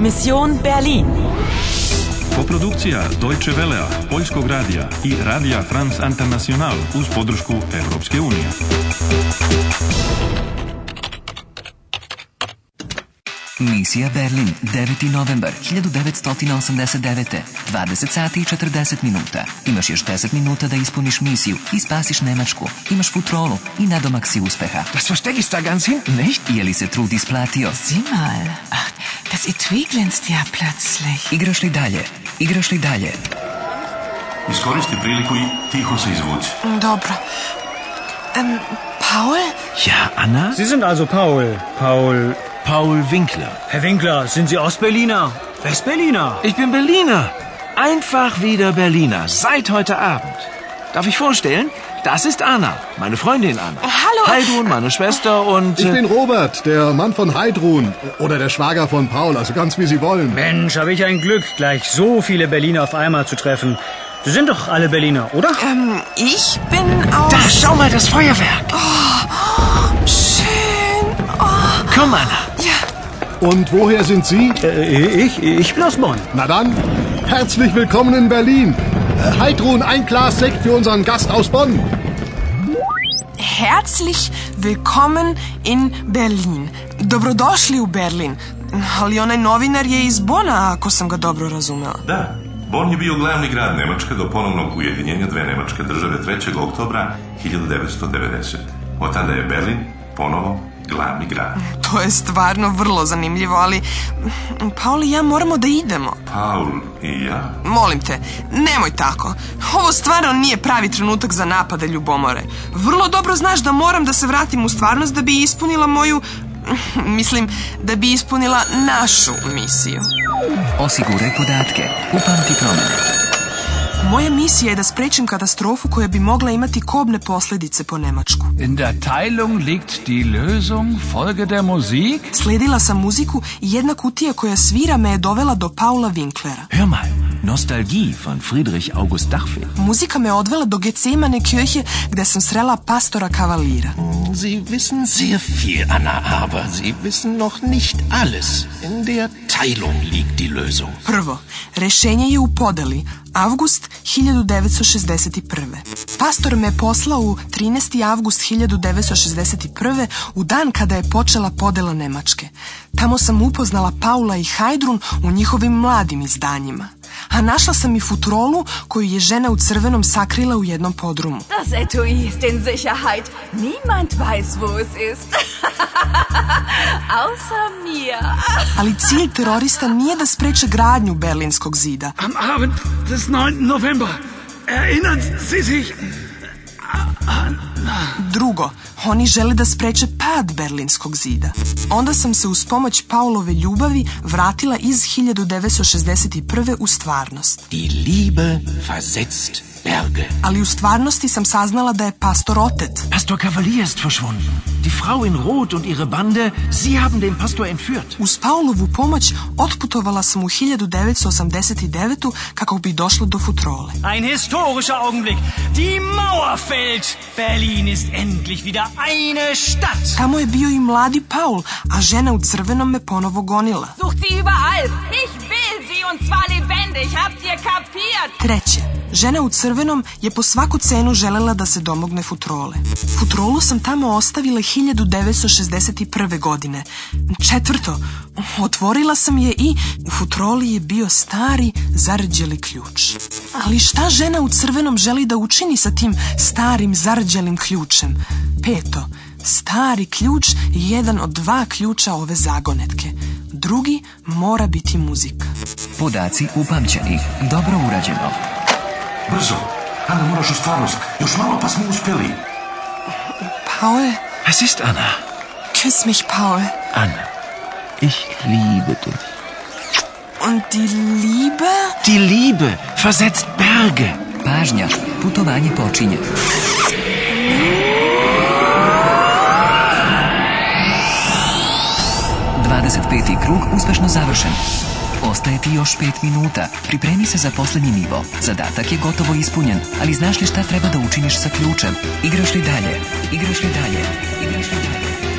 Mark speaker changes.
Speaker 1: Mission Berlin.
Speaker 2: Koprodukcija Deutsche Velea, Poljskog radija i Radija France International uz podršku Europske unije.
Speaker 3: Misija Berlin, 9. novembar 1989. 20 sati i 40 minuta. Imaš još 10 minuta da ispuniš misiju i spasiš Nemačku. Imaš futrolu i nadomak si uspeha.
Speaker 4: Das Versteck ist da ganz hinten, nicht?
Speaker 3: Je li se trud isplatio?
Speaker 5: Sieh mal, Ach, Ah, das Etui glänzt ja plötzlich.
Speaker 3: Igraš li dalje? Igraš li dalje?
Speaker 2: Iskoristi priliku i tiho se izvuci.
Speaker 5: Dobro. Ähm, Paul?
Speaker 4: Ja, Anna?
Speaker 6: Sie sind also Paul. Paul.
Speaker 4: Paul Winkler.
Speaker 6: Herr Winkler, sind Sie Ostberliner? Westberliner?
Speaker 4: Ich bin Berliner. Einfach wieder Berliner. Seit heute Abend. Darf ich vorstellen? Das ist Anna, meine Freundin Anna.
Speaker 5: Hallo.
Speaker 4: Heidrun, meine Schwester und...
Speaker 7: Ich
Speaker 4: äh,
Speaker 7: bin Robert, der Mann von Heidrun oder der Schwager von Paul, also ganz wie Sie wollen.
Speaker 6: Mensch, habe ich ein Glück, gleich so viele Berliner auf einmal zu treffen. Sie sind doch alle Berliner, oder?
Speaker 5: Ähm, ich bin aus...
Speaker 4: Da, schau mal, das Feuerwerk.
Speaker 5: Schön. Oh,
Speaker 4: Komm, Anna.
Speaker 5: ja.
Speaker 7: Und woher sind Sie?
Speaker 6: Äh, ich, ich bin aus Bonn.
Speaker 7: Na dann, herzlich willkommen in Berlin. Äh, Heidrun, ein Glas Sekt für unseren Gast aus Bonn.
Speaker 5: Herzlich willkommen in Berlin. Dobrodošli u Berlin. Ali onaj novinar je iz Bona, ako sam ga dobro razumela.
Speaker 8: Da, Bonn je bio glavni grad Nemačke do ponovnog ujedinjenja dve nemačke države 3. oktobra 1990. Od tada je Berlin ponovo glavni grad.
Speaker 5: To je stvarno vrlo zanimljivo, ali Paul i ja moramo da idemo.
Speaker 8: Paul i ja?
Speaker 5: Molim te, nemoj tako. Ovo stvarno nije pravi trenutak za napade ljubomore. Vrlo dobro znaš da moram da se vratim u stvarnost da bi ispunila moju... Mislim, da bi ispunila našu misiju.
Speaker 3: Osiguraj podatke. Upamti promjene.
Speaker 5: Moja misija je da sprečim katastrofu koja bi mogla imati kobne posljedice po Nemačku.
Speaker 9: In der Teilung liegt die Lösung. Folge der Musik.
Speaker 5: Sledila sam muziku i jedna kutija koja svira me je dovela do Paula Winklera.
Speaker 4: Hör mal, Nostalgie von Friedrich August Dachfeld.
Speaker 5: Muzika me je odvela do Gecemane kjöhe gdje sam srela pastora kavalira.
Speaker 10: Sie wissen sehr viel, Anna, aber Sie wissen noch nicht alles. In der Teilung liegt die Lösung.
Speaker 5: Prvo, rešenje je u podeli, avgust 1961. Pastor me je poslao u 13. avgust 1961. u dan kada je počela podela Nemačke. Tamo sam upoznala Paula i Hajdrun u njihovim mladim izdanjima. A našla sam i futrolu koju je žena u crvenom sakrila u jednom podrumu.
Speaker 11: Das Etui ist in Sicherheit. Niemand weiß, wo es ist. Außer mir.
Speaker 5: Ali cilj terorista nije da spreče gradnju Berlinskog zida,
Speaker 9: Am Abend des 9. November. Erinnern Sie sich
Speaker 5: Drugo, oni žele da spreče pad Berlinskog zida. Onda sam se uz pomoć Paulove ljubavi vratila iz 1961. u stvarnost.
Speaker 10: Die Liebe versetzt Berge.
Speaker 5: Ali u stvarnosti sam saznala da je pastor otet.
Speaker 4: Pastor Cavalier ist verschwunden. Die Frau in Rot und ihre Bande, sie haben den Pastor entführt.
Speaker 5: Uz Paulovu pomoć otputovala sam u 1989. kako bi došla do futrole.
Speaker 6: Ein historischer Augenblick. Die Mauer fällt. Berlin ist endlich wieder eine Stadt.
Speaker 5: Tamo je bio i mladi Paul, a žena u crvenom me ponovo gonila.
Speaker 11: Sucht sie überall. Ich will sie und zwar lebendig. Habt ihr kapiert?
Speaker 5: Treće, žena u crvenom je po svaku cenu želela da se domogne futrole. Futrolu sam tamo ostavila 1961. godine. Četvrto, otvorila sam je i u futroli je bio stari zarđeli ključ. Ali šta žena u crvenom želi da učini sa tim starim zarđelim ključem? Peto, stari ključ je jedan od dva ključa ove zagonetke. Drugi mora biti muzika.
Speaker 3: Podaci upamćeni. Dobro urađeno.
Speaker 8: Brzo! Ana, moraš u stvarnost. Još malo pa smo uspjeli.
Speaker 5: Paul,
Speaker 4: Was ist, Anna?
Speaker 5: küss mich, Paul.
Speaker 4: Anna, ich liebe dich.
Speaker 5: Und die Liebe?
Speaker 4: Die Liebe versetzt Berge.
Speaker 3: Pažnja, putovanje počinje. Dvadeset peti krug uspešno završen. Ostaje ti još pet minuta. Pripremi se za posljednji nivo. Zadatak je gotovo ispunjen, ali znaš li šta treba da učiniš sa ključem? Igraš li dalje? Igraš li dalje? Igraš li dalje?